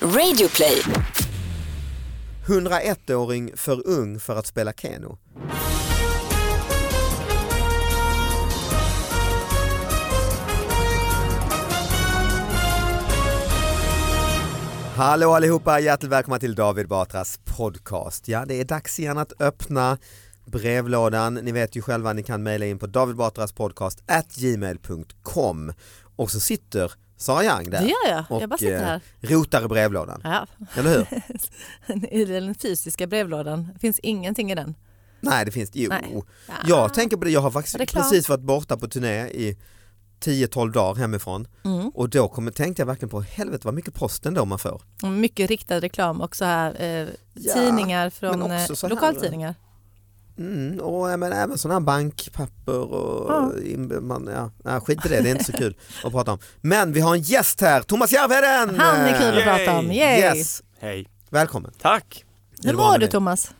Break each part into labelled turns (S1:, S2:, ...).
S1: Radioplay.
S2: 101-åring för ung för att spela Keno. Hallå allihopa, hjärtligt välkomna till David Batras podcast. Ja, det är dags igen att öppna brevlådan. Ni vet ju själva, ni kan mejla in på davidbatraspodcast@gmail.com och så sitter Sara Young där
S3: Det gör jag.
S2: och
S3: jag bara sitter
S2: eh,
S3: här.
S2: rotar i brevlådan.
S3: Ja.
S2: Eller hur?
S3: I den fysiska brevlådan Det finns ingenting i den.
S2: Nej det finns det ju.
S3: Nej.
S2: Jag tänker på det, jag har
S3: Ja, det är
S2: faktiskt
S3: klart.
S2: precis varit borta på turné i 10-12 dagar hemifrån
S3: Mm.
S2: och då kom, tänkte jag verkligen på helvete vad mycket posten då man får.
S3: Mycket riktad reklam och så här eh,
S2: Ja,
S3: tidningar från
S2: men också
S3: eh,
S2: så här.
S3: lokaltidningar.
S2: Mm, och ja, men även sådana här bankpapper och
S3: Ja.
S2: in- man, ja, ja, skit i det, det är inte så kul att prata om. Men vi har en gäst här, Thomas Järvheden! Eh,
S3: Han är kul att
S4: Yay.
S3: prata om. Yay.
S2: Yes,
S4: Hej.
S2: välkommen.
S4: Tack.
S2: Är
S3: Hur
S2: det bra
S3: mår
S2: med
S3: du
S2: dig?
S3: Thomas?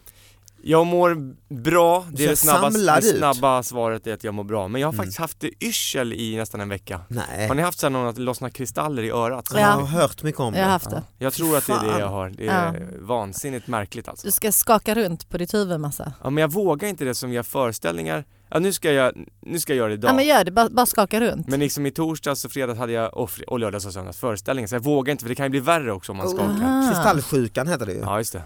S4: Jag mår bra. Det
S2: Så
S4: är det snabba,
S2: samlar
S4: det
S2: ut.
S4: snabba svaret är att jag mår bra. Men jag har
S2: Mm.
S4: faktiskt haft yrsel i nästan en vecka.
S2: Nej,
S4: Har ni haft så här någon att lossna kristaller i örat?
S2: jag
S3: Ja.
S2: har hört mycket om
S3: Jag har haft det.
S4: Jag tror att det är det jag har. Det är
S3: Ja.
S4: vansinnigt märkligt alltså.
S3: Du ska skaka runt på ditt huvud massa.
S4: Ja, men jag vågar inte det som gör föreställningar. Ja, nu ska jag, nu ska jag göra det idag.
S3: Ja, men gör det, bara, bara skaka runt.
S4: Men liksom i torsdags och fredags hade jag, och, fre- och lördags och söndags föreställningar. Så jag vågar inte för det kan ju bli värre också om man
S2: Oh.
S4: skakar.
S3: Aha.
S2: Kristallsjukan heter det ju.
S4: Ja, just det.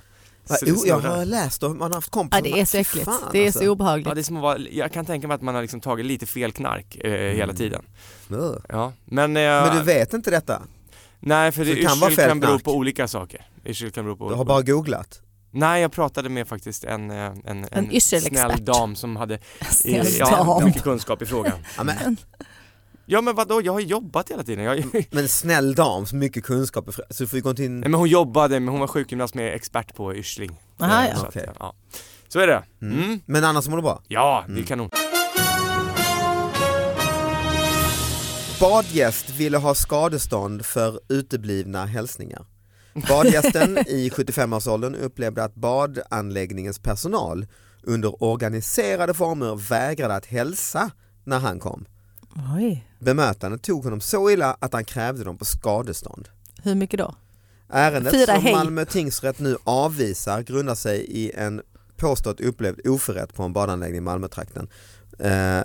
S2: Va,
S4: Så det
S2: jo, jag
S4: snurrar.
S2: har läst och man har haft kompisar
S3: Ja, det
S2: som-
S3: är så
S2: Fy
S3: äckligt.
S2: fan,
S3: det är
S2: alltså.
S3: så obehagligt.
S4: Ja, det är som att vara, jag kan tänka mig att man har liksom tagit lite fel knark eh, hela tiden.
S2: Ugh.
S4: Ja, men... eh,
S2: Mm. Men du vet inte detta?
S4: Nej, för
S2: Så
S4: det,
S2: det kan vara
S4: yrsel kan, bero
S2: fältknark.
S4: på olika saker. Yrsel kan bero på
S2: Du har bara googlat?
S4: Nej, jag pratade med faktiskt en, eh, en, en,
S3: yrselexpert.
S4: snäll dam som hade eh,
S3: Snäll
S4: ja,
S3: dam.
S4: mycket kunskap i frågan.
S2: Ja, men
S4: Ja, men vadå, jag har jobbat hela tiden. Jag, nej,
S2: Men snäll dam, så mycket kunskap är fri- så du får ju gå till en...
S4: men hon jobbade, men hon var sjukgymnast med expert på yrsling.
S3: Aha,
S4: Eh,
S3: ja.
S4: så, att,
S2: Okej.
S4: eh, ja. så är det.
S2: Mm.
S4: Mm.
S2: Men annars mår du bra?
S4: Ja, det
S2: Mm.
S4: är kanon.
S2: Badgäst ville ha skadestånd för uteblivna hälsningar. Badgästen i 75-årsåldern upplevde att badanläggningens personal under organiserade former vägrade att hälsa när han kom.
S3: Oj.
S2: Bemötandet tog honom så illa att han krävde dem på skadestånd.
S3: Hur mycket då?
S2: Ärendet
S3: Fyra
S2: som
S3: hej.
S2: Malmö tingsrätt nu avvisar grundar sig i en påstått upplevd oförrätt på en badanläggning i Malmötrakten. Eh, eh,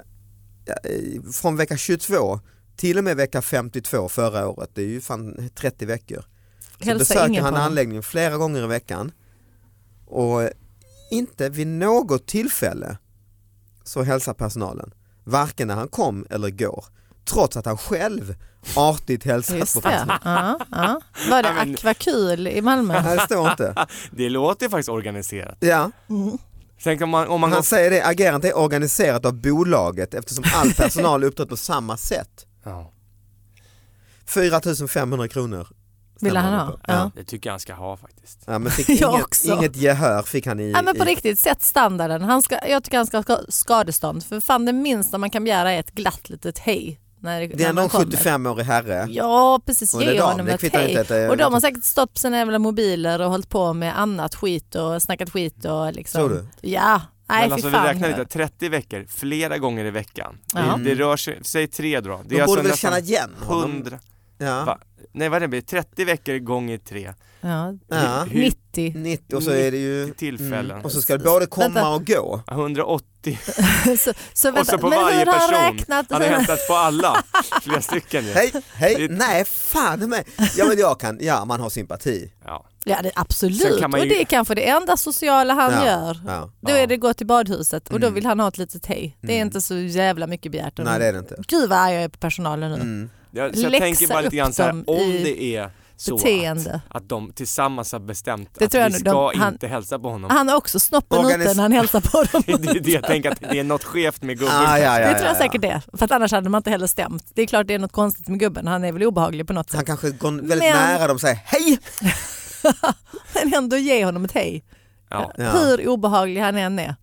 S2: från vecka 22 till och med vecka 52 förra året, det är ju fan 30 veckor, så
S3: Hälsa
S2: besöker
S3: ingen
S2: han
S3: på honom.
S2: anläggningen flera gånger i veckan och inte vid något tillfälle så hälsar personalen, varken när han kom eller går, trots att han själv artigt hälsat på
S3: Just
S2: personalen.
S3: det. Ja, ja. Var det
S4: Ja, men-
S3: akvakul i Malmö?
S2: Nej, det står inte.
S4: Det låter ju faktiskt organiserat.
S2: Ja.
S3: Mm.
S4: Tänk om man, om man
S2: Han
S4: går...
S2: säger det, agerandet är organiserat av bolaget eftersom all personal är uppträtt på samma sätt.
S4: Ja.
S2: 4 500 kronor.
S3: Ville han
S2: stämmer
S3: ha?
S2: på.
S3: Ja.
S4: Det tycker jag han ska ha faktiskt.
S2: Ja, men fick
S3: Jag
S2: inget,
S3: också.
S2: inget gehör fick han i...
S3: Ja, men på
S2: i-
S3: riktigt, sätt standarden. Han ska, jag tycker han ska ha ska- skadestånd. För fan det minsta man kan begära är ett glatt litet hej. När det,
S2: det är
S3: när
S2: ändå en
S3: man kommer.
S2: 75-årig herre.
S3: Ja precis,
S2: Och det är
S3: ge
S2: dam,
S3: honom
S2: det
S3: ett
S2: kvittar inte eh,
S3: hej.
S2: att det är-
S3: Och de har säkert stått på sina jävla mobiler och hållit på med annat skit och snackat skit och liksom.
S2: Tror du?
S3: Ja, nej
S4: men
S3: fy
S4: alltså vi
S3: fan.
S4: räknar lite, 30 veckor, flera gånger i veckan.
S3: Ja.
S4: Det, det rör sig, säg tre då. Det
S2: Mm.
S4: alltså
S2: De borde väl
S4: nästan
S2: känna igen honom?
S4: 100,
S2: Ja.
S4: va? nej vad det blir, 30 veckor gånger tre.
S3: Ja,
S2: ja.
S4: Hur-
S3: 90
S2: 90 och så är det ju... Mm.
S4: tillfällen.
S2: Och så ska det både komma och gå.
S4: 180.
S3: så, så vänta,
S4: Mm. så på
S3: men
S4: varje
S3: hur har
S4: person.
S3: han räknat?
S4: Han har hämtat på alla, flera stycken ju.
S2: Hej, hej,
S4: Det-
S2: nej fan i mig. Ja men jag kan, ja man har sympati.
S4: Ja.
S3: Ja det, absolut,
S4: Sen kan man
S3: och
S4: ju-
S3: det är kanske det enda sociala han
S2: ja.
S3: gör.
S2: Ja.
S3: Då
S4: Ja.
S3: är det gå till badhuset och då
S2: Mm.
S3: vill han ha ett litet hej. Det är
S2: Mm.
S3: inte så jävla mycket begärt. av
S2: Nej
S3: en-
S2: det är det inte.
S3: Gud vad arg jag är på personalen nu.
S2: Mm.
S4: Jag, så jag
S3: Läxa
S4: tänker bara lite grann
S3: upp
S4: så här,
S3: dem
S4: om
S3: i
S4: det är så att,
S3: Beteende.
S4: att de tillsammans har bestämt
S3: Det
S4: att
S3: tror jag
S4: vi
S3: nu,
S4: ska
S3: de- han- Ah.
S4: inte hälsa på honom.
S3: Han har också snoppen
S2: Organis-
S3: ute när han hälsar på
S4: Det
S3: dem.
S4: är det jag tänker att det är något skevt med gubben.
S2: Ah, ja, ja,
S3: Det tror
S2: ja,
S3: jag
S2: ja.
S3: säkert det. För att annars hade man inte heller stämt. Det är klart det är något konstigt med gubben. Han är väl obehaglig på något
S2: Han
S3: sätt.
S2: kanske går väldigt
S3: Men-
S2: nära dem och säger hej.
S3: Men ändå ge honom ett hej.
S4: Ja,
S2: Ja.
S3: Hur obehaglig han än är.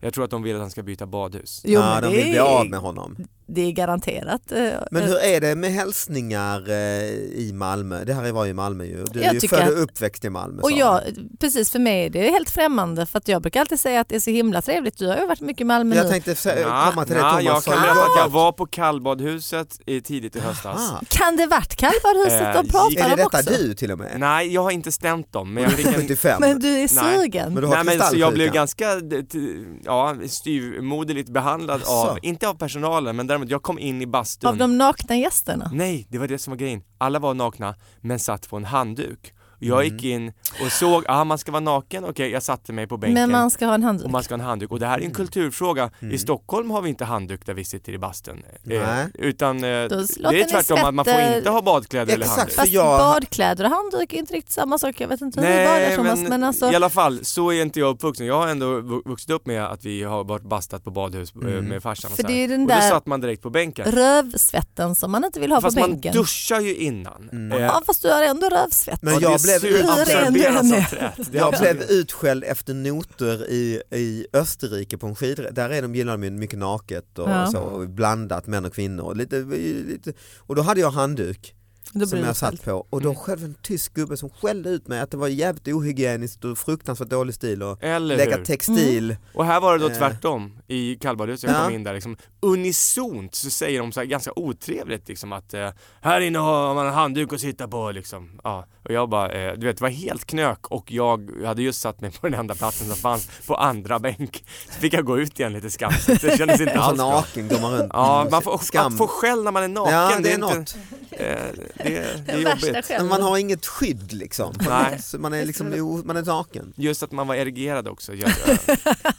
S4: jag tror att de vill att han ska byta badhus.
S3: Jo,
S2: ja,
S3: men
S2: de
S3: det
S2: vill bli
S3: är-
S2: av med honom.
S3: Det är garanterat. eh,
S2: Men
S3: eh,
S2: hur är det med hälsningar eh, i Malmö? Det här var ju Malmö ju. Du är
S3: Jag
S2: ju
S3: tycker
S2: född
S3: att-
S2: och uppväxt i Malmö.
S3: Och
S2: sa
S3: jag, precis för mig är det helt främmande för att jag brukar alltid säga att det är så himla trevligt. Du har ju varit mycket i
S2: du.
S3: Malmö
S2: jag
S3: nu.
S2: tänkte se-
S4: Nja,
S2: komma till det
S4: nja,
S2: Thomas.
S4: jag
S2: sa.
S4: kan berätta att jag var på kallbadhuset i tidigt i höstas.
S2: Aha.
S3: Kan det varit Kalvarhuset de
S4: Eh,
S3: pratar
S2: Är Ah, det
S3: om
S2: detta
S3: också?
S2: du till och med?
S4: Nej, jag har inte stämt dem. Men jag fick en...
S2: 75?
S3: Men du är
S4: Nej.
S3: sugen.
S2: Men du har
S4: Nej, men så jag blev
S2: kristallsjuka.
S4: ganska d- t- ja, styvmoderligt behandlad
S2: Asså.
S4: av, inte av personalen, men däremot jag kom in i bastun.
S3: Av de nakna gästerna.
S4: Nej, det var det som var grejen. Alla var nakna, men satt på en handduk. Jag
S2: Mm.
S4: gick in och såg, ah man ska vara naken, okej jag satte mig på bänken.
S3: Men man ska ha en handduk.
S4: Och man ska ha en handduk. Och det här
S2: Mm.
S4: är en kulturfråga. I Stockholm har vi inte handduk där vi sitter i bastun. Eh,
S2: Nej.
S4: utan eh, det
S3: låter ni
S4: är tvärtom att man får
S3: svetter-
S4: inte ha badkläder eller
S2: Exakt,
S4: handduk.
S2: för
S3: Fast
S2: jag-
S3: badkläder och handduk är inte riktigt samma sak. Jag vet inte hur du badar Thomas. Men, alltså,
S4: i alla fall så är inte jag uppvuxen. Jag har ändå vu- vuxit upp med att vi har varit bastat på badhus eh,
S2: Mm.
S4: med farsan och
S3: För
S4: så
S3: det är
S4: här.
S3: ju den
S4: Och då
S3: där-
S4: satt man direkt på bänken.
S3: rövsvetten som man inte vill ha
S4: Fast
S3: på
S4: man
S3: bänken.
S4: duschar ju innan. Eh,
S3: Ja, fast du har ändå rövsvett.
S2: Mm. Men
S4: och
S2: jag
S4: det
S2: blev
S4: surabsorberas
S3: Hur ren du än
S4: av trät. Det är
S2: Jag
S4: absolut-
S2: blev utskälld efter noter i, i Österrike på en skidresa. Där är de, gillar de ju mycket naket och,
S3: Ja.
S2: så, och blandat män och kvinnor. Och, lite, lite, och då hade jag handduk
S3: Då
S2: som
S3: blir det
S2: jag satt
S3: fel. Mm.
S2: på och då skällde en tysk gubbe som skällde ut mig att det var jävligt ohygieniskt och fruktansvärt dålig stil och
S4: Eller
S2: lägga
S4: hur?
S2: textil.
S3: Mm.
S4: Och här var det då
S2: Eh.
S4: tvärtom i kallbadhuset. Jag
S2: Ja.
S4: kom in där liksom unisont så säger de så här ganska otrevligt liksom att eh, här inne har man en handduk att sitta på liksom. Ja. Och jag bara, eh, du vet det var helt knök och jag hade just satt mig på den enda platsen som fanns på andra bänk. Så fick jag gå ut igen lite skamset. Det kändes inte
S2: Och så
S4: alls bra.
S2: naken går man runt.
S4: Ja, man får,
S2: Skam.
S4: att få skäll när man är naken,
S2: Ja, det
S4: det
S2: är
S4: är
S2: något.
S4: inte, eh, det, det är
S3: Värsta
S4: jobbigt.
S2: Men
S3: skämt.
S2: man har inget skydd liksom.
S4: Nej.
S2: Så man är liksom o- man är naken.
S4: Just att man var erigerad också. gör-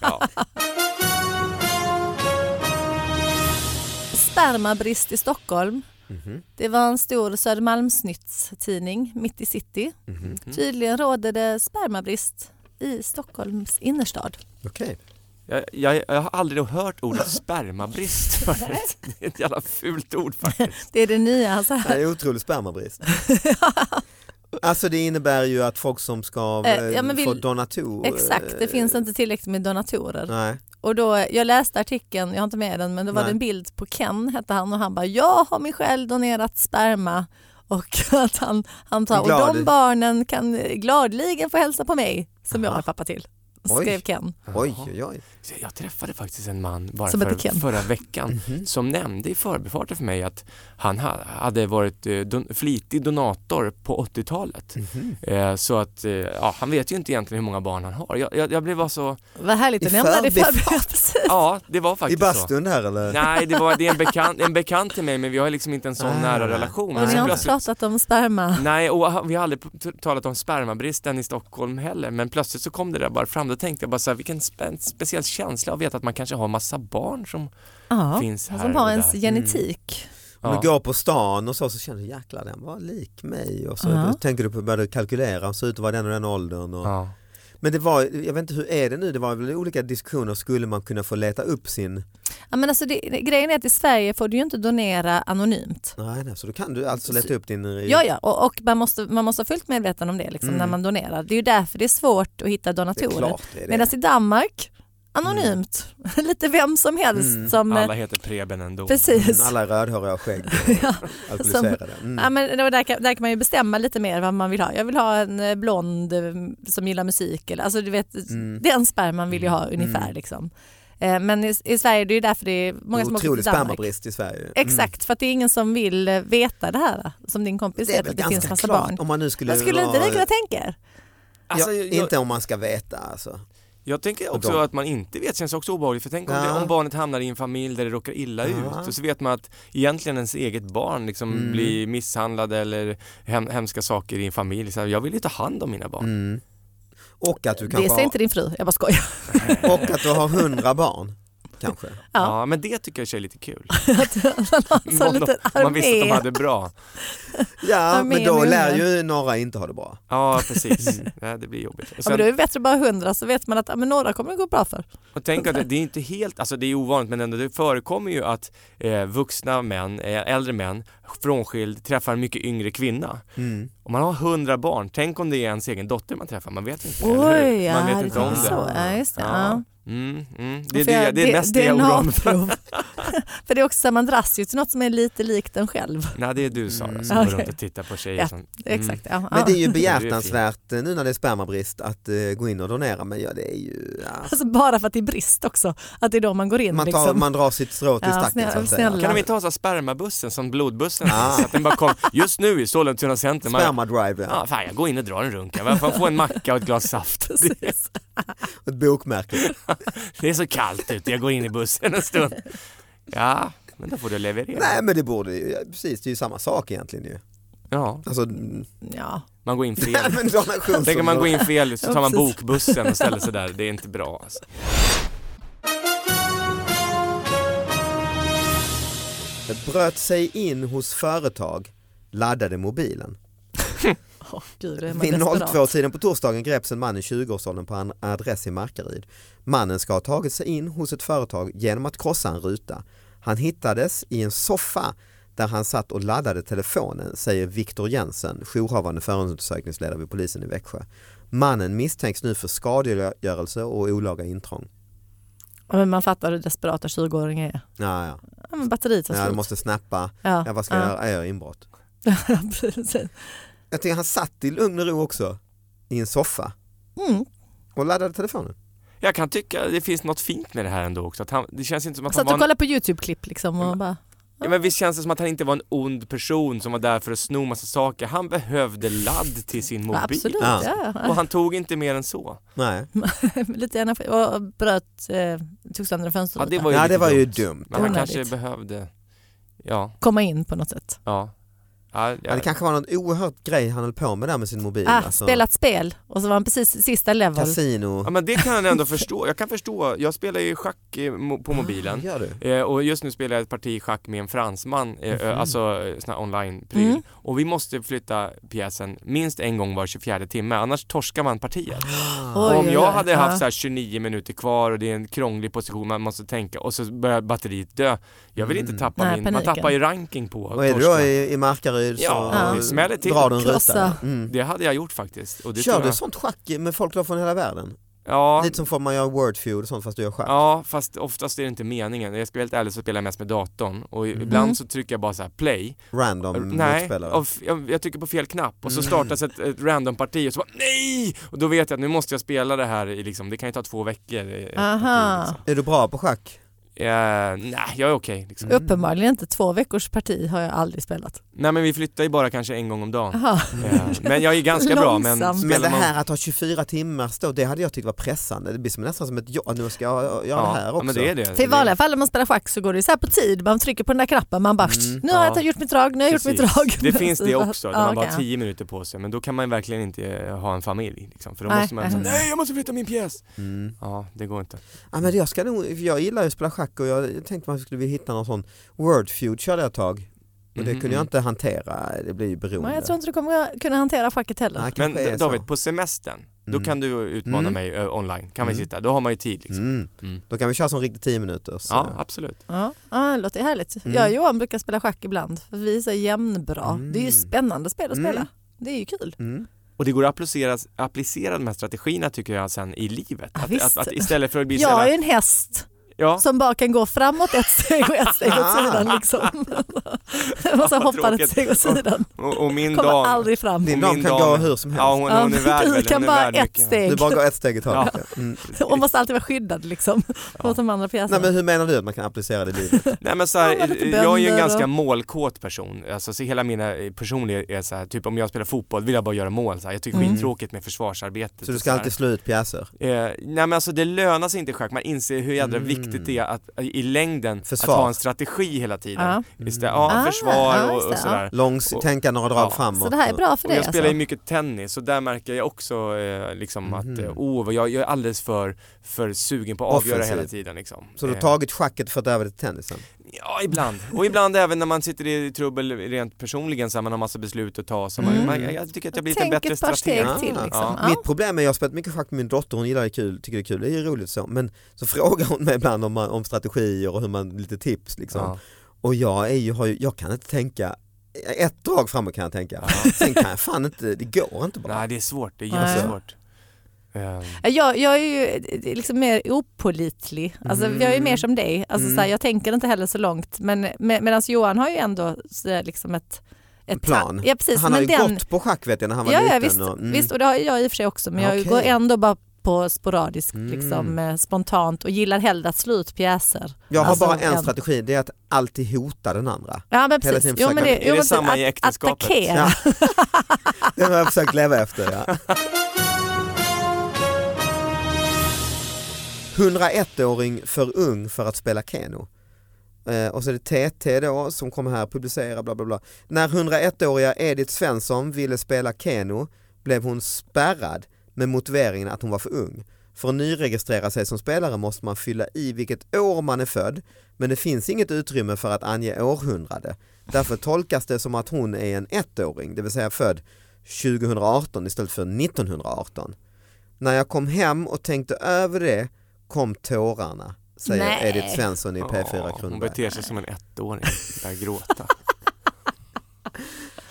S4: Ja.
S3: Spermabrist i Stockholm.
S4: Mhm.
S3: Det var en stor Södermalmsnyttstidning mitt i city.
S4: Mhm.
S3: Tydligen råder det spermabrist i Stockholms innerstad.
S2: Okej.
S4: Jag, jag, jag har aldrig hört ordet spermabrist förut. Det är ett jävla fult ord faktiskt.
S3: Det är det nya. Alltså.
S2: Det är otrolig spermabrist. Alltså det innebär ju att folk som ska
S3: Eh,
S2: eh,
S3: ja, men
S2: få
S3: vill-
S2: donator.
S3: Exakt, det
S2: eh,
S3: finns inte tillräckligt med donatorer.
S2: Nej.
S3: Och då, jag läste artikeln, jag har inte med den, men då var
S2: Nej.
S3: det en bild på Ken hette han och han bara jag har mig själv donerat sperma och att han, han tar, och de
S2: Glad.
S3: barnen kan gladligen få hälsa på mig som jag
S2: Aha.
S3: är pappa till.
S2: Oj.
S3: Skrev Ken.
S2: Oj, oj, oj.
S4: Så Jag träffade faktiskt en man bara
S3: Som heter
S4: för,
S3: Ken.
S4: förra veckan
S2: Mhm.
S4: som nämnde i förbifarten för mig att han ha, hade varit eh, don, flitig donator på 80-talet. Eh, så att eh, ja, han vet ju inte egentligen hur många barn han har. Jag, jag, jag blev bara så,
S3: Vad härligt
S2: I
S3: att nämna det i
S2: förbifart.
S3: förbifart. Precis.
S4: ja det var
S2: I
S4: faktiskt så.
S2: bastun där eller?
S4: Nej, det, var, det är en bekant, en bekant till mig men vi har liksom inte en sån
S2: Ah.
S4: nära relation.
S3: Och ni
S4: Så
S3: har inte
S4: plötsligt-
S3: pratat om sperma.
S4: Nej, och vi har aldrig p- talat om spermabristen i Stockholm heller, men plötsligt så kom det där bara fram. Då tänkte jag bara så här, vilken spe speciell känsla att veta att man kanske har massa barn som
S3: Ja,
S4: finns här.
S3: som har
S4: och
S3: ens
S4: där. Mm.
S3: genetik.
S2: Om
S4: Ja.
S2: du går på stan och så, så känner du jäklar den var lik mig och så
S3: Ja.
S2: tänker du på, börjar du kalkylera och så ut att vara den och den åldern. Och,
S4: Ja.
S2: Men det var, jag vet inte hur är det nu, det var väl olika diskussioner, skulle man kunna få leta upp sin,
S3: Ja, men alltså det, grejen är att i Sverige får du ju inte donera anonymt.
S2: nej, nej så då kan du alltså leta upp din,
S3: Ja, ja, och, och man, måste, man måste vara fullt medveten om det liksom, när man donerar. Det är ju därför det är svårt att hitta
S2: Mm. det är
S3: donatorer.
S2: klart det är
S3: Medan
S2: det.
S3: i Danmark, anonymt,
S2: Mm.
S3: lite vem som helst som... eh,
S4: Alla heter Preben ändå.
S3: Precis.
S2: Mm, Alla är rödhåriga och skägg och alkoholiserade. Mm.
S3: Ja, men då- där, kan, där kan man ju bestämma lite mer vad man vill ha. Jag vill ha en eh, blond eh, som gillar musik. Eller, alltså, du vet,
S2: Mm.
S3: Den sperman vill jag ha ungefär. Liksom. Eh, Men i, i Sverige, det är ju därför det är många som åker till
S2: Otrolig
S3: Danmark.
S2: spermabrist i Sverige. Mm.
S3: Exakt, för att det är ingen som vill eh, veta det här som din kompis
S2: Det är
S3: vet
S2: väl
S3: att det finns
S2: ganska
S3: massa
S2: klart
S3: barn.
S2: om man nu skulle
S3: Men skulle inte
S2: vara-
S3: ni kunna tänka er?
S4: Alltså,
S2: ja,
S4: jag,
S2: Inte om man ska veta alltså.
S4: jag tänker också
S2: Och de-
S4: att man inte vet känns också obehagligt, för tänk om,
S2: Ja.
S4: det, om barnet hamnar i en familj där det råkar illa
S2: Ja. Mm.
S4: ut och så vet man att egentligen ens eget barn liksom blir misshandlade eller hem, hemska saker i en familj. Så här, jag vill ju ta hand om mina barn.
S2: Mm. Och, att du
S3: Det
S2: kanske
S3: säger
S2: har,
S3: inte din fru, jag bara skojar.
S2: och att du har hundra barn kanske.
S3: Ja.
S4: Ja. men det tycker jag i och för sig är lite kul.
S3: Så en
S4: Om de-
S3: liten
S4: om man visste att de
S3: armé.
S4: hade bra.
S2: Ja,
S3: Ja,
S2: men
S3: mer
S2: då
S3: med
S2: lär
S3: hundar.
S2: ju några inte ha det bra.
S4: Ja, precis. Nej, det blir jobbigt. Och,
S3: Ja, men då är
S4: sen,
S3: det bättre att bara hundra så vet man att ja, men några kommer det gå bra för.
S4: och tänk att det, det är inte helt, alltså det är ovanligt men ändå det förekommer ju att eh, vuxna män, eh, äldre män, frånskild, träffar en mycket yngre kvinna.
S2: Mm.
S4: Om man har hundra barn, tänk om det är ens egen dotter man träffar, man vet inte. eller hur?
S3: Oj, ja,
S4: man vet
S3: det
S4: inte om
S3: finns
S4: det.
S3: så. Ja, just det.
S4: Ja.
S3: Ja.
S4: Mm, mm. Det, är
S3: För
S4: det,
S3: jag-
S4: det är mest det jag oroar mig för.
S3: DNA-prov. För det är också så här, man dras ju till något som är lite likt en själv.
S4: Nej det är du Sara som
S3: Mm.
S4: går runt
S3: Okej.
S4: och tittar på tjejer
S3: Ja,
S4: som... Mm.
S3: Exakt. Ja.
S2: Men det är
S3: Ja.
S2: ju behjärtansvärt eh, nu när det är spermabrist att eh, gå in och donera men ja det är ju, ja.
S3: Alltså bara för att det är brist också. Att det är då man går in.
S2: man, tar,
S3: liksom.
S2: man drar sitt strå till
S3: Ja,
S2: stacken så att
S3: snälla-
S2: säga.
S4: Kan de inte ha så här spermabussen som blodbussen?
S2: Ah.
S4: Så att den bara kom just nu i Sollentuna center. Man,
S2: Spermadrive ja.
S4: ja, fan jag går in och drar en runka. Man får få en macka och ett glas saft. Det,
S3: Precis.
S2: ett bokmärke.
S4: det är så kallt ute, jag går in i bussen en stund. Ja, men då får du leverera.
S2: Nej men det borde ju, ja, precis det är ju samma sak egentligen ju.
S4: Ja,
S2: Alltså, mm,
S3: Ja.
S4: man går in
S2: nej,
S4: fel.
S2: men donation
S4: Tänk om man går in fel så tar man
S3: Ja, precis.
S4: bokbussen och ställer sig där. Det är inte bra alltså.
S2: Bröt sig in hos företag, laddade mobilen.
S3: Åh, gud, då är man
S2: Vid
S3: desperat.
S2: 02-tiden på torsdagen greps en man i 20-årsåldern på en adress i Markaryd. Mannen ska ha tagit sig in hos ett företag genom att krossa en ruta. Han hittades i en soffa där han satt och laddade telefonen, säger Viktor Jensen, jourhavande förundersökningsledare vid polisen i Växjö. Mannen misstänks nu för skadegörelse och olaga intrång.
S3: Ja, men man fattar hur desperata 20-åringar är.
S2: Ja, ja.
S3: Ja, men batteriet tar
S2: ja jag
S3: slut.
S2: måste snappa.
S3: Ja,
S2: Ja, vad ska jag göra? Jag gör inbrott.
S3: Ja, precis.
S2: Jag tycker han satt i lugn och ro också i en soffa
S3: Mm.
S2: och laddade telefonen.
S4: Jag kan tycka det finns något fint med det här ändå också. Att han, det känns inte som att han
S3: Satt
S4: var
S3: och
S4: en,
S3: kollade på YouTube-klipp liksom och bara,
S4: ja, men visst känns det som att han inte var en ond person som var där för att sno massa saker. Han behövde ladd till sin
S3: ja,
S4: mobil.
S3: absolut,
S2: Ja.
S3: ja. ja.
S4: Och han tog inte mer än så.
S2: Nej,
S3: Lite energi och bröt, eh, tog sönder en
S4: Ja,
S3: fönsterruta.
S4: det var ju,
S2: ja,
S4: lite
S2: det var ju
S4: dumt.
S2: dumt.
S4: Men han
S3: Onödigt.
S4: kanske behövde... Ja,
S3: Komma in på något sätt.
S4: ja. ja,
S2: Ja,
S4: ja.
S2: det kanske var någon oerhört grej han höll på med där med sin mobil.
S3: Ah,
S2: alltså.
S3: Spelat spel och så var han precis i sista level.
S2: Casino.
S4: ja men det kan jag ändå förstå. Jag kan förstå. Jag spelar ju schack eh, mo- på
S3: Ah,
S4: mobilen.
S2: Ah, Gör du?
S4: Eh, och just nu spelar jag ett parti schack med en fransman, eh, eh, alltså eh, sån här online-pryl.
S3: Mhm. Mm.
S4: Och vi måste flytta pjäsen minst en gång var 24 timme, annars torskar man partiet.
S3: Oj,
S2: Ah.
S4: och om
S3: oj,
S4: jag
S3: oj.
S4: hade
S3: Ja.
S4: haft så här 29 minuter kvar och det är en krånglig position man måste tänka och så börjar batteriet dö. Jag vill inte
S2: Mm.
S4: tappa
S3: Nej,
S4: min, man
S3: paniken.
S4: tappar ju ranking på
S2: Vad är du då
S4: torsken.
S2: i, i Markaryd så
S4: Ja,
S3: det
S4: smäller till.
S2: drar du en ruta.
S3: Krossa.
S2: Mm.
S4: Det hade jag gjort faktiskt. Och det
S2: Kör
S4: tror
S2: du
S4: jag...
S2: sånt schack med folk då från hela världen?
S4: Ja,
S2: Lite som får man göra wordfeud och sånt fast du gör schack.
S4: ja, fast oftast är det inte meningen. Jag ska vara helt ärlig så spelar jag mest med datorn och
S2: Mhm.
S4: ibland så trycker jag bara så här play.
S2: Random
S4: nej,
S2: motspelare.
S4: och f- jag, jag trycker på fel knapp
S2: Mm.
S4: och så startas ett, ett random-parti och så bara nej! Och då vet jag att nu måste jag spela det här i liksom, det kan ju ta två veckor. i ett
S3: Aha.
S4: parti, Liksom.
S2: Är du bra på schack?
S4: Eh, nej, jag är okej liksom.
S2: Mm.
S3: Uppenbarligen inte. Två veckors parti har jag aldrig spelat.
S4: Nej men vi flyttar ju bara kanske en gång om dagen.
S3: Aha.
S4: Eh, men jag är ganska bra men
S3: Långsamt.
S4: spelar
S2: Men det
S4: man-
S2: här att ha 24 timmar då, det hade jag tyckt var pressande. Det blir som nästan som ett ja, nu ska jag göra det här
S4: Ja,
S2: också.
S4: men det är det.
S3: För i vanliga fall när man spelar schack så går det ju så här på tid. Man trycker på den där knappen, man bara
S2: Mm.
S3: nu har jag
S4: Ja.
S3: gjort mitt drag, nu har jag gjort mitt
S4: Precis.
S3: drag.
S4: Det finns det
S3: Precis.
S4: också, när
S3: Ja,
S4: man bara
S3: okej.
S4: har tio minuter på sig. Men då kan man verkligen inte eh, ha en familj. Liksom. För då
S3: Nej,
S4: måste man
S3: nej.
S4: säga, nej jag måste flytta min pjäs.
S2: Mm.
S4: Ja, det går inte.
S2: Ja, men jag, ska nog, jag gillar ju att spela schack och jag tänkte man skulle vilja hitta någon sån wordfeud körde jag ett tag. Och det
S4: Mhm,
S2: kunde jag
S4: mm.
S2: inte hantera, det blir ju beroende.
S3: Men jag tror inte du kommer kunna hantera schacket heller.
S2: Nej, kanske är
S4: Men
S2: så.
S4: David, på alltså. semestern, då
S2: Mm.
S4: kan du utmana
S2: Mm.
S4: mig ö, online. Kan vi
S2: Mm.
S4: sitta, då har man ju tid. Liksom.
S2: Mm.
S4: Mm.
S2: Då kan vi köra som riktigt 10 minuter. Så.
S4: Ja, absolut.
S3: Ja, ja det låter härligt.
S2: Mm.
S3: Jag och Johan brukar spela schack ibland, för vi är så jämnbra.
S2: Mm.
S3: Det är ju spännande spel att
S2: Mm.
S3: spela. Det är ju kul.
S2: Mm.
S4: Och det går att applicera, applicera de här strategierna tycker jag sen i livet.
S3: Ja,
S4: Att,
S3: Ah, visst.
S4: att, att istället för att bli så
S3: Jag är
S4: jävla,
S3: ju en häst
S4: ja, Ah.
S3: som bara kan gå framåt ett steg och ett steg åt sidan. Liksom. och så
S4: vad
S3: hoppar ett
S4: tråkigt.
S3: steg åt sidan.
S4: och, och min
S3: Kommer
S4: dam,
S3: aldrig fram.
S2: Din
S4: Min
S2: dam kan
S4: dam-
S2: gå hur som helst.
S4: ja, hon,
S3: Ja,
S4: hon är värd
S3: du
S4: väl,
S3: kan
S4: hon är
S3: bara
S4: värd
S3: ett
S4: mycket.
S3: steg
S2: Du bara går ett steg i taget. Mm.
S3: och måste alltid vara skyddad liksom, mot de andra
S2: Nej,
S3: pjäserna.
S2: men hur menar du att man kan applicera det i livet?
S4: Nej men så här,
S3: Ja, men lite
S4: jag är ju en
S3: bönder
S4: ganska
S3: och-
S4: målkåt person. Alltså så hela mina eh, personliga är så här, typ om jag spelar fotboll vill jag bara göra mål. Så här. Jag tycker det är
S3: Mm.
S4: skittråkigt med försvarsarbetet.
S2: Så du
S4: och
S2: ska
S4: här.
S2: alltid slå ut pjäser?
S4: Eh, nej men alltså det lönar sig inte i schack. Man inser hur jädra
S2: Mm.
S4: viktigt det är att, i längden
S2: Försvar.
S4: att ha en strategi hela tiden.
S3: Ja.
S4: Istället, ja,
S3: Mm. Ah,
S4: försvar
S3: ja,
S4: och,
S3: just
S4: och
S3: det,
S4: sådär.
S2: Långs
S4: Och-
S2: tänka några drag
S4: ja.
S2: framåt?
S3: Så det här är bra för
S4: Och
S3: dig
S4: jag spelar ju
S3: alltså.
S4: mycket tennis och där märker jag också eh, liksom att
S2: Mhm.
S4: eh, oh, vad jag, jag är alldeles för, för sugen på att avgöra
S2: Offensiv.
S4: hela tiden. Liksom.
S2: Så du har
S4: Eh,
S2: tagit schacket för att över till tennisen?
S4: Ja, ibland. Och ibland även när man sitter i trubbel rent personligen så här, man har massa beslut att ta. Så man,
S3: Mm.
S4: man, jag tycker att jag blir lite
S3: Tänk
S4: bättre
S3: ett par steg
S4: strateg.
S3: till liksom.
S4: Ja.
S3: Ja.
S2: Mitt problem är att jag har spelat mycket schack med min dotter, hon gillar det kul, tycker det är kul, det är ju roligt så. Men så frågar hon mig ibland om, man, om strategier och hur man, lite tips liksom.
S4: Ja.
S2: Och jag, är ju, har ju, jag kan inte tänka, ett drag framåt kan jag tänka. Sen kan jag fan inte, det går inte bara.
S4: Nej, det är svårt. Det är
S3: Nej.
S4: jättesvårt. Eh,
S3: Jag, jag är ju liksom mer opolitlig. Alltså,
S2: Mm.
S3: Jag är mer som dig. Alltså,
S2: Mm.
S3: så här, jag tänker inte heller så långt. Men med, medan Johan har ju ändå så där, liksom ett,
S2: En
S3: ett
S2: plan.
S3: Ja, precis.
S2: Han
S3: men
S2: har ju
S3: den,
S2: gått på schack vet jag när han var
S3: Ja,
S2: liten.
S3: ja visst,
S2: och, mm.
S3: visst. Och det har jag i och för sig också. Men jag
S2: Okej.
S3: går ändå bara på sporadiskt,
S2: Mm.
S3: liksom, eh, spontant och gillar hellre att slå ut pjäser.
S2: Jag har
S3: Alltså,
S2: bara en
S3: en-
S2: strategi, det är att alltid hota den andra.
S3: Ja, men
S2: Hela
S3: precis.
S2: tiden
S3: Jo, men
S2: försöka-
S3: det,
S2: Är
S3: jo,
S4: det
S3: men
S4: samma
S3: att-
S4: i äktenskapet?
S3: Attackera.
S2: Ja. Det har jag försökt leva efter. Ja. 101-åring för ung för att spela Keno. Eh, och så är det TT då som kommer här publicera bla bla bla. När 101-åriga Edith Svensson ville spela Keno blev hon spärrad med motiveringen att hon var för ung. För att nyregistrera sig som spelare måste man fylla i vilket år man är född men det finns inget utrymme för att ange århundrade. Därför tolkas det som att hon är en ettåring, det vill säga född 2018 istället för 1918. När jag kom hem och tänkte över det kom tårarna, säger
S3: Nej.
S2: Edith Svensson i P4
S4: ja, Hon
S2: Kronoberg.
S4: beter sig som en ettåring. Börjar gråta.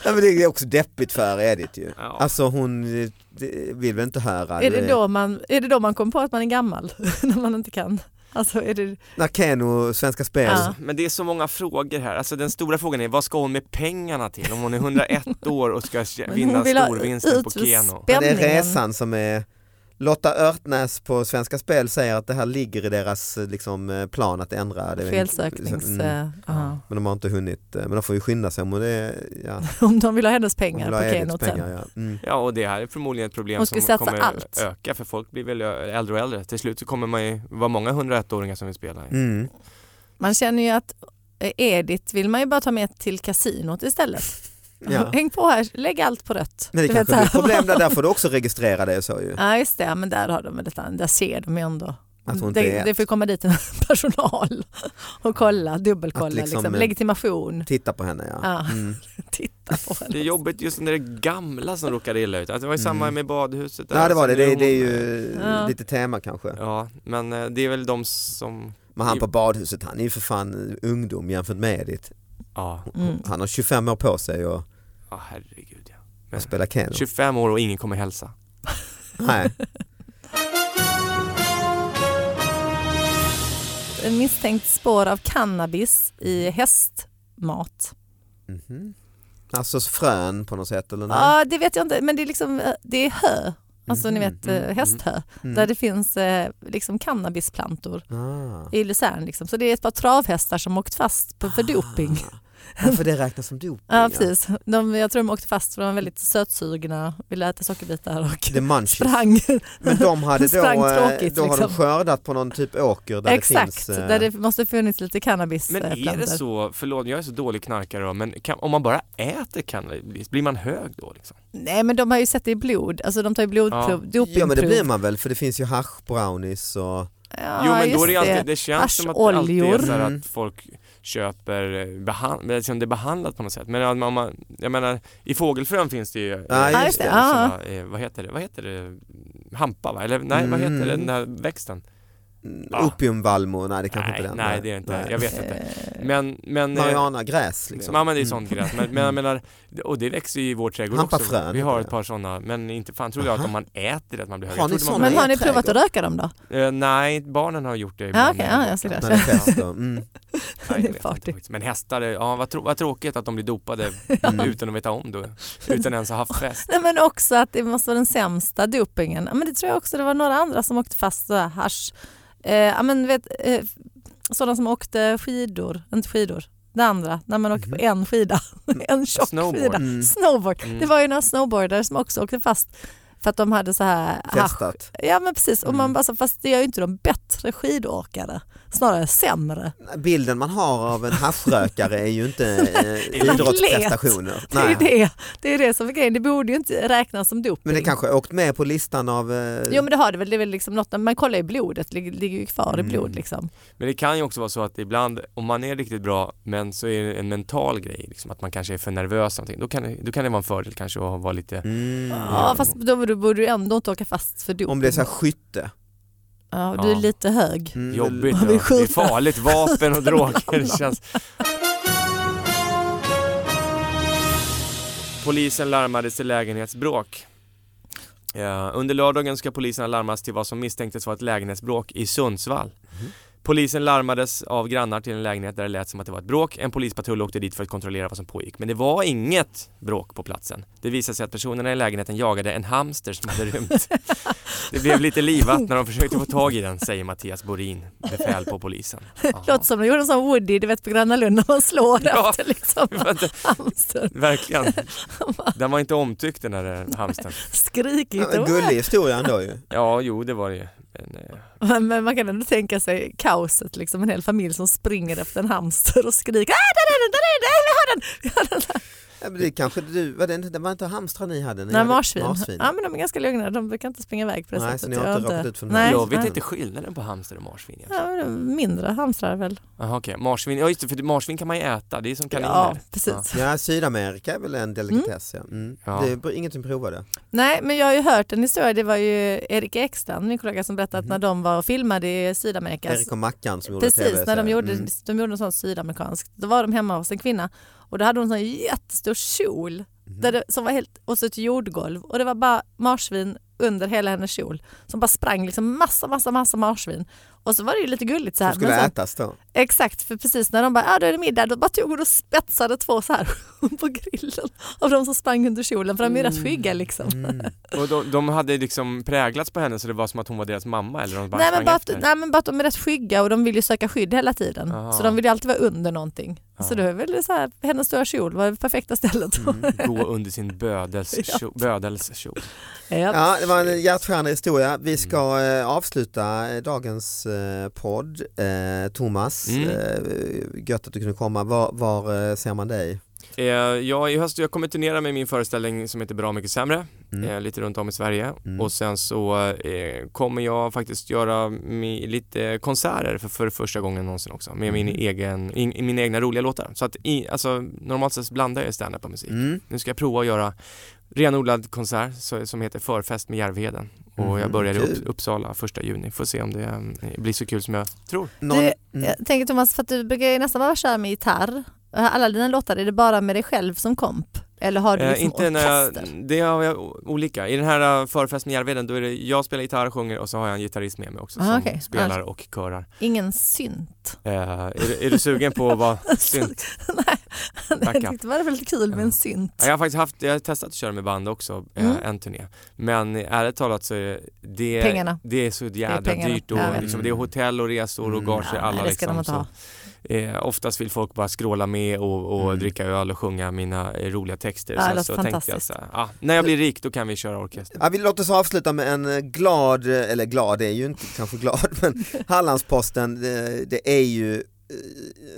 S2: Ja, men det är också deppigt för Edith ju.
S4: Ja.
S2: Alltså hon eh, det- vill väl inte höra.
S3: Är det, då man, är det då man kom på att man är gammal? När man inte kan? Alltså, är det,
S2: När Keno, Svenska Spel.
S3: Ja.
S4: Men det är så många frågor här. Alltså den stora frågan är vad ska hon med pengarna till om hon är 101 år och ska
S3: Men
S4: vinna
S3: hon vill ha
S4: storvinsten på
S3: ut-
S4: Keno?
S2: Men det är
S3: Spänningen.
S2: resan som är Lotta Örtnäs på Svenska Spel säger att det här ligger i deras eh, liksom, eh, plan att ändra. Det är väl-
S3: Felsöknings...
S2: Mm.
S3: eh, ja.
S2: Men de har inte hunnit, eh, men de får ju skynda sig om och det ja,
S3: Om de vill ha hennes
S2: om
S3: pengar
S2: de vill ha
S3: på
S2: Ediths
S3: kenot sen.
S2: pengar. Ja. Mm.
S4: Ja och det här är förmodligen ett problem
S3: Hon skulle
S4: som
S3: satsa
S4: kommer
S3: allt.
S4: öka för folk blir väl äldre och äldre. Till slut så kommer man ju vara många 101-åringar som vill spela.
S2: Mm.
S3: Man känner ju att eh, Edith vill man ju bara ta med till kasinot istället.
S2: Ja.
S3: Häng på här, lägg allt på rött.
S2: Men det
S3: Du
S2: kanske
S3: vet,
S2: blir
S3: så här.
S2: problem där, där får du också registrera det så ju.
S3: Ja just det, men där har de lite annan- där ser de ju ändå.
S2: Att hon inte
S3: Det,
S2: är
S3: det får komma dit en personal och kolla,
S2: Att
S3: dubbelkolla,
S2: liksom,
S3: liksom,
S2: eh,
S3: legitimation.
S2: Titta på henne ja.
S3: Ja,
S2: Mm.
S3: titta på henne.
S4: Det är jobbigt just när det är gamla som råkar illa ut. Alltså, det var ju
S2: Mm.
S4: samma med badhuset. där.
S2: Ja det var det,
S4: Alltså,
S2: det,
S4: nu
S2: det är
S4: hon-
S2: ju
S3: Ja.
S2: lite tema kanske.
S4: Ja, men eh, det är väl de som,
S2: Men han på badhuset, han är ju för fan ungdom jämfört med Edith.
S4: ja,
S3: Mm.
S2: Han har 25 år på sig att
S4: ja herregud ja.
S2: att spela Keno.
S4: 25 år och ingen kommer hälsa.
S2: Nej.
S3: En misstänkt spår av cannabis i hästmat.
S2: Mhm. Alltså frön på något sätt eller?
S3: Ja,
S2: nej?
S3: det vet jag inte, men det är liksom, eh, det är hö. Alltså
S2: Mhm,
S3: ni vet eh,
S4: mhm,
S3: hästhö,
S2: Mm.
S3: där det finns eh, liksom cannabisplantor
S2: Ah.
S3: i Luzern. Liksom. Så det är ett par travhästar som åkt fast på, för doping.
S2: Ja, för det räknas som doping.
S3: Ja, precis. De, jag tror de åkte fast för de var väldigt sötsugna, ville äta sockerbitar och
S2: The munchies.
S3: sprang.
S2: Men de hade då,
S3: Sprang
S2: eh,
S3: tråkigt,
S2: då har de
S3: liksom.
S2: skördat på någon typ åker där
S3: Exakt,
S2: det finns... eh,
S3: där det måste funnits lite
S4: Men
S3: eh,
S4: är det
S3: cannabisplantor.
S4: så, förlåt jag är så dålig knarkare då, men kan, om man bara äter cannabis, blir man hög då liksom?
S3: Nej men de har ju sett det i blod, alltså de tar ju blodprov, dopingprov.
S2: Ja men det blir man väl för det finns ju hash brownies och...
S3: Ja,
S4: jo men då
S3: just
S4: är det, ju alltid, det känns som att det alltid är
S3: Arsoljor.
S4: så här
S2: Mm.
S4: att folk köper, eh, behand, men liksom det är behandlat på något sätt. Men om man, jag menar, i fågelfrön finns det ju, eh,
S2: Ja,
S3: Ja, just det.
S4: eh,
S3: Ja.
S4: såna, eh, vad heter det, vad heter det, hampa va? Eller nej vad heter
S2: Mm.
S4: det, den där växten?
S2: Ja.
S4: Ja.
S2: Opiumvalmo, nej det kanske
S4: nej,
S2: inte är den.
S4: nej det är inte, jag vet inte.
S3: Eh,
S4: Men, men eh,
S2: Mariana gräs liksom.
S4: Ja men det är
S2: Mm.
S4: sånt gräs, men, men jag menar, och det växer ju i vår trädgård
S2: Hampa
S4: också.
S2: frön,
S4: vi har
S2: ja.
S4: ett par sådana, men inte fan tror jag att
S2: Aha.
S4: om man äter det att man blir hög.
S2: Har
S4: Jag
S2: ni
S4: trodde man
S2: såna?
S3: Men har ni
S2: trädgård.
S3: provat att röka dem då?
S4: blev- Eh, nej, barnen har gjort det
S3: Ja,
S4: ibland.
S3: okej, ja, jag ser det.
S2: När det är fest då. Mm.
S4: Nej,
S3: Det
S4: jag
S3: är
S4: vet
S3: party.
S4: inte faktiskt. Men hästar, är- ja, vad, trå- vad tråkigt att de blir dopade
S2: Mm.
S4: utan att veta om det. Utan ens ha haft fest.
S3: Nej men också att det måste vara den sämsta dopingen. Ja, men det tror jag också, det var några andra som åkte fast så här hasch. Eh, ja, men vet, eh, sådana som åkte skidor, inte skidor, det andra, när man åker på en skida, en tjock
S4: Snowboard.
S3: skida.
S2: Mhm. Mm.
S3: Snowboard.
S4: Mm.
S3: Det var ju några snowboardare som också åkte fast för att de hade så här hasch.
S2: Festat.
S3: Ja men precis, och
S2: Mm.
S3: man bara så, fast det gör ju inte de bättre skidåkare, snarare sämre.
S2: Bilden man har av en haschrökare är ju inte eh,
S4: En
S2: idrottsprestationer.
S3: Det är, ju
S2: Nej.
S3: det. det är det som är grejen, det borde ju inte räknas som doping.
S2: Men det kanske har åkt med på listan av... eh,
S3: Jo men det har det väl, det är väl liksom något, man kollar ju blodet, det ligger ligger ju kvar
S2: Mm.
S3: i blod liksom.
S4: Men det kan ju också vara så att ibland, om man är riktigt bra, men så är det en mental grej, liksom, att man kanske är för nervös eller någonting. Då kan, det- då kan det vara en fördel kanske att vara lite
S2: Mm.
S3: Ja fast då då borde du ändå inte åka fast för doping.
S2: Om det är så här skytte.
S3: ja, du är
S4: Ja.
S3: lite hög.
S2: Mm.
S3: Man
S4: jobbigt. Ja.
S3: vill
S4: Det är
S3: skjuta.
S4: farligt, vapen och droger. Det känns... Polisen larmades till lägenhetsbråk. Eh, under lördagen ska polisen larmas till vad som misstänktes vara ett lägenhetsbråk i Sundsvall. Polisen larmades av grannar till en lägenhet där det lät som att det var ett bråk. En polispatrull åkte dit för att kontrollera vad som pågick. Men det var inget bråk på platsen. Det visade sig att personerna i lägenheten jagade en hamster som hade rymt. Det blev lite livat när de försökte få tag i den, säger Mattias Borin, befäl på polisen. Ja.
S3: Låter som de gjorde en sån Woody, du vet på Gröna Lund när man slår
S4: Ja.
S3: efter liksom hamstern.
S4: Verkligen. Den var inte omtyckt den här hamstern.
S3: Skrikigt.
S2: Ja, men Gullig historia ändå ju.
S4: Ja, jo det var det ju. Men, eh,
S3: Men, men man kan ändå tänka sig kaoset, liksom, en hel familj som springer efter en hamster och skriker ah, där är den, där är den, där, vi har den! Vi har den.
S2: Ja, men det kanske du, var det, inte- det var inte hamstrar ni hade? Ni
S3: Nej,
S2: hade
S3: marsvin.
S2: marsvin.
S3: Ja, men de är ganska lugna, de brukar inte springa iväg på det
S2: Nej,
S3: sättet.
S2: så ni har inte råkat ut för den här
S3: Nej,
S4: jag vet
S3: nej.
S4: inte skillnaden på hamster och marsvin egentligen.
S3: Ja, men de är mindre hamstrar väl?
S4: Jaha okej, marsvin, ja just det, för marsvin kan man ju äta, det är som kaniner.
S3: Ja, precis.
S2: Ja, Sydamerika är väl en delikatess. Ja. Mm.
S4: Ja.
S2: Det är inget som provade.
S3: Nej, men jag har ju hört en historia, det var ju Erik Ekstrand, min kollega, som berättade att när de var och filmade i Sydamerika
S2: Mhm. Erik och Mackan som gjorde
S3: Precis,
S2: TV.
S3: när de gjorde,
S2: Mm.
S3: de gjorde något sånt sydamerikanskt. Då var de hemma hos en kvinna och då hade hon en sån jättestor kjol där det, som var helt, och så ett jordgolv och det var bara marsvin under hela hennes kjol som bara sprang liksom massa, massa, massa marsvin. Och så var det ju lite gulligt så här.
S2: Som skulle
S3: men sen,
S2: ätas då.
S3: exakt, för precis när de bara, ja då är det middag, då bara tog hon och spetsade två så här på grillen av de som sprang under kjolen för de är ju rätt skygga liksom.
S2: Mm.
S4: Och de, de hade liksom präglats på henne så det var som att hon var deras mamma eller de bara
S3: Nej
S4: sprang
S3: men, bara att,
S4: efter.
S3: nej men bara att de är rätt skygga och de vill ju söka skydd hela tiden.
S4: Aha.
S3: Så de vill ju alltid vara under någonting.
S4: Ja.
S3: Så det är väl så här, hennes stora kjol var det perfekta stället.
S4: Mm. Gå under sin bödels kjol. Bödels kjol.
S3: ja.
S2: Ja, det var en hjärtskärande historia. Vi ska eh, avsluta eh, dagens eh, podd. Eh, Thomas,
S4: Mm.
S2: eh, gött att du kunde komma. Var, var eh, ser man dig?
S4: Eh, jag, I höst, jag kommer turnera med min föreställning som heter Bra Mycket Sämre,
S2: Mm.
S4: eh, lite runt om i Sverige.
S2: Mm.
S4: Och sen så eh, kommer jag faktiskt göra mi, lite konserter för, för första gången någonsin också, med min
S3: Mm.
S4: egen, in, mina egna roliga låtar. Så att i, alltså, normalt sett blandar jag standup och musik.
S2: Mm.
S4: Nu ska jag prova att göra renodlad konsert så- som heter Förfest med Järvheden. Och jag
S3: Mm,
S2: Mhm,
S4: börjar i
S2: kul.
S4: Upp- Uppsala första juni. Får se om det eh, blir så kul som jag tror.
S2: Någon,
S3: Du,
S2: mm.
S3: jag tänker Thomas, för att du brukar ju nästan bara köra med gitarr. Alla dina låtar, är det bara med dig själv som komp? Eller har du
S4: Eh,
S3: liksom
S4: inte när jag,
S3: orkester?
S4: det har jag o- olika. I den här eh, Förfest med Järvheden då är det jag spelar gitarr, sjunger och så har jag en gitarrist med mig också
S3: Ah,
S4: som
S3: okej.
S4: spelar och körar.
S3: Ingen synt?
S4: Eh, är, du- är du sugen på att vara synt?
S3: Nej, jag
S4: Backa.
S3: tyckte det var väldigt kul med
S4: Ja.
S3: en synt.
S4: Ja, Jag har faktiskt haft, jag har testat att köra med band också, eh,
S3: Mm.
S4: en turné. Men eh, ärligt talat så är det- det,
S3: Pengarna.
S4: det är så jädra
S3: pengarna.
S4: dyrt och
S3: Jag vet.
S4: liksom, det är hotell och resor och
S2: Mm.
S4: gage,
S3: Ja,
S4: alla
S3: nej, det ska de
S4: liksom.
S3: inte
S4: så-
S3: ha.
S4: Eh, oftast vill folk bara skråla med och, och
S2: Mm.
S4: dricka öl och sjunga mina eh, roliga texter.
S3: Ja, det
S4: Sen
S3: låter
S4: så tänkte jag
S3: fantastist.
S4: så här, ah, när jag blir rik då kan vi köra orkester.
S2: Ja, vi låter oss avsluta med en eh, glad, eh, eller glad det är ju inte kanske glad, men Hallandsposten det, det är ju eh,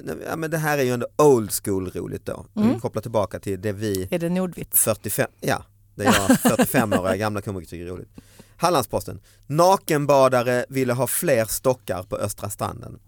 S2: nej, Ja, men det här är ju ändå old school roligt då.
S3: Mm.
S2: Vi kopplar tillbaka till det vi
S3: Är det Nordvits?
S2: 45, ja, det är jag, 45-åriga gamla komiker tycker är roligt. Hallandsposten, nakenbadare ville ha fler stockar på Östra stranden.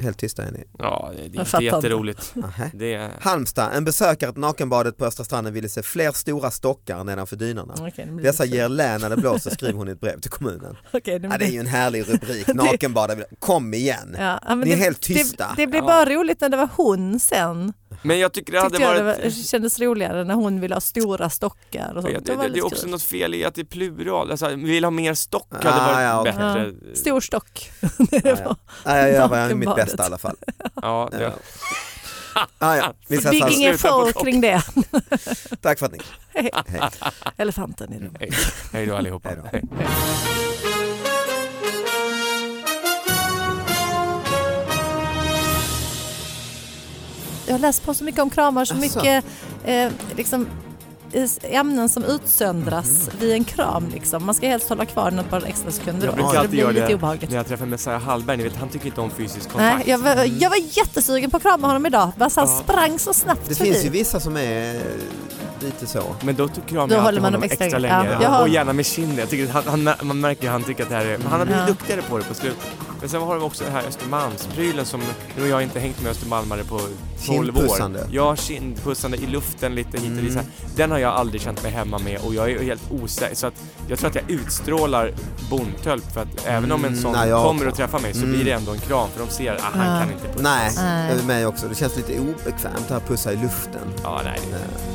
S2: Helt tysta är ni.
S4: Ja, det det är
S3: Jag
S4: inte
S3: fattar inte.
S4: jätteroligt.
S2: Nähä.
S4: Det är,
S2: Halmstad, en besökare till nakenbadet på Östra stranden ville se fler stora stockar nedanför dynorna.
S3: Okej, nu blir Mm, det Mm.
S2: Dessa ger lä när det blåser skriver hon i ett brev till kommunen.
S3: Okej, nu
S2: Ja, det är
S3: blir-
S2: ju en härlig rubrik, nakenbadare, kom igen.
S3: Ja, ja, men
S2: Ni är
S3: det-
S2: helt
S3: det-
S2: tysta.
S3: Det, blev
S4: Ja.
S3: bara roligt när det var hon sen.
S4: men jag tycker det hade
S3: Tyckte jag det,
S4: varit...
S3: var, alltså, kändes roligare när hon ville ha stora stockar och
S4: Det,
S3: sånt.
S4: det,
S3: var
S4: det, är
S3: lite
S4: också
S3: kul.
S4: något fel i att det är plural. Alltså, vi vill ha mer stock hade
S2: Ah,
S4: varit
S2: ja, okej.
S4: bättre.
S3: Stor stock.
S2: Ja, ja. Ja, jag gör vad jag- mitt
S3: Nakenbadet.
S2: bästa i alla fall.
S4: Ja, det,
S2: Ja, ja. Vi ses
S3: Big
S2: alltså.
S3: ingen
S4: Sluta på
S3: show
S4: stock.
S3: kring det.
S2: Tack för att ni
S3: Hej.
S2: Hej.
S3: Elefanten i rummet.
S4: hej, hej då allihopa.
S2: Hej då.
S4: Hej.
S3: Jag har läst på så mycket om kramar, så
S2: Asså.
S3: mycket eh, liksom, is- ämnen som utsöndras vid en kram. Liksom. Man ska helst hålla kvar den ett par extra sekunder.
S4: Jag
S3: då,
S4: brukar
S3: för det
S4: alltid
S3: blir
S4: göra
S3: lite
S4: det
S3: obehagligt.
S4: när jag träffar Messiah Hallberg, ni vet han tycker inte om fysisk kontakt.
S3: Nej, jag, var, jag var jättesugen på att krama honom idag. Bara så han
S4: Ja.
S3: sprang så snabbt
S2: Det
S3: förbi.
S2: finns ju vissa som är eh, lite så.
S4: Men då tycker jag
S3: Då
S4: jag
S3: håller
S4: alltid
S3: man
S4: honom
S3: dem
S4: extra,
S3: extra länge.
S4: länge.
S3: Ja, jag har-
S4: Och gärna med kinden. Jag tycker att han, han, man märker att han tycker att det här är... Men han har blivit
S3: Ja.
S4: duktigare på det på slutet. Men sen har vi också den här Östermalmsprylen som... Nu har jag inte hängt med östermalmare på 12 år.
S2: Kindpussande. Mm.
S4: Ja, kindpussande i luften lite hit och dit. så här. Den har jag aldrig känt mig hemma med och jag är helt osäker. Så att jag tror att jag utstrålar bondtölp för att även om en
S2: Mm,
S4: sån
S2: nej, jag-
S4: kommer och träffar mig så
S2: Mm.
S4: blir det ändå en kram för de ser att ah, han
S3: Ja.
S4: kan inte pussa.
S2: Nej,
S3: Nej.
S2: över mig också. Det känns lite obekvämt att pussa i luften.
S4: Ja, nej.
S2: Eh,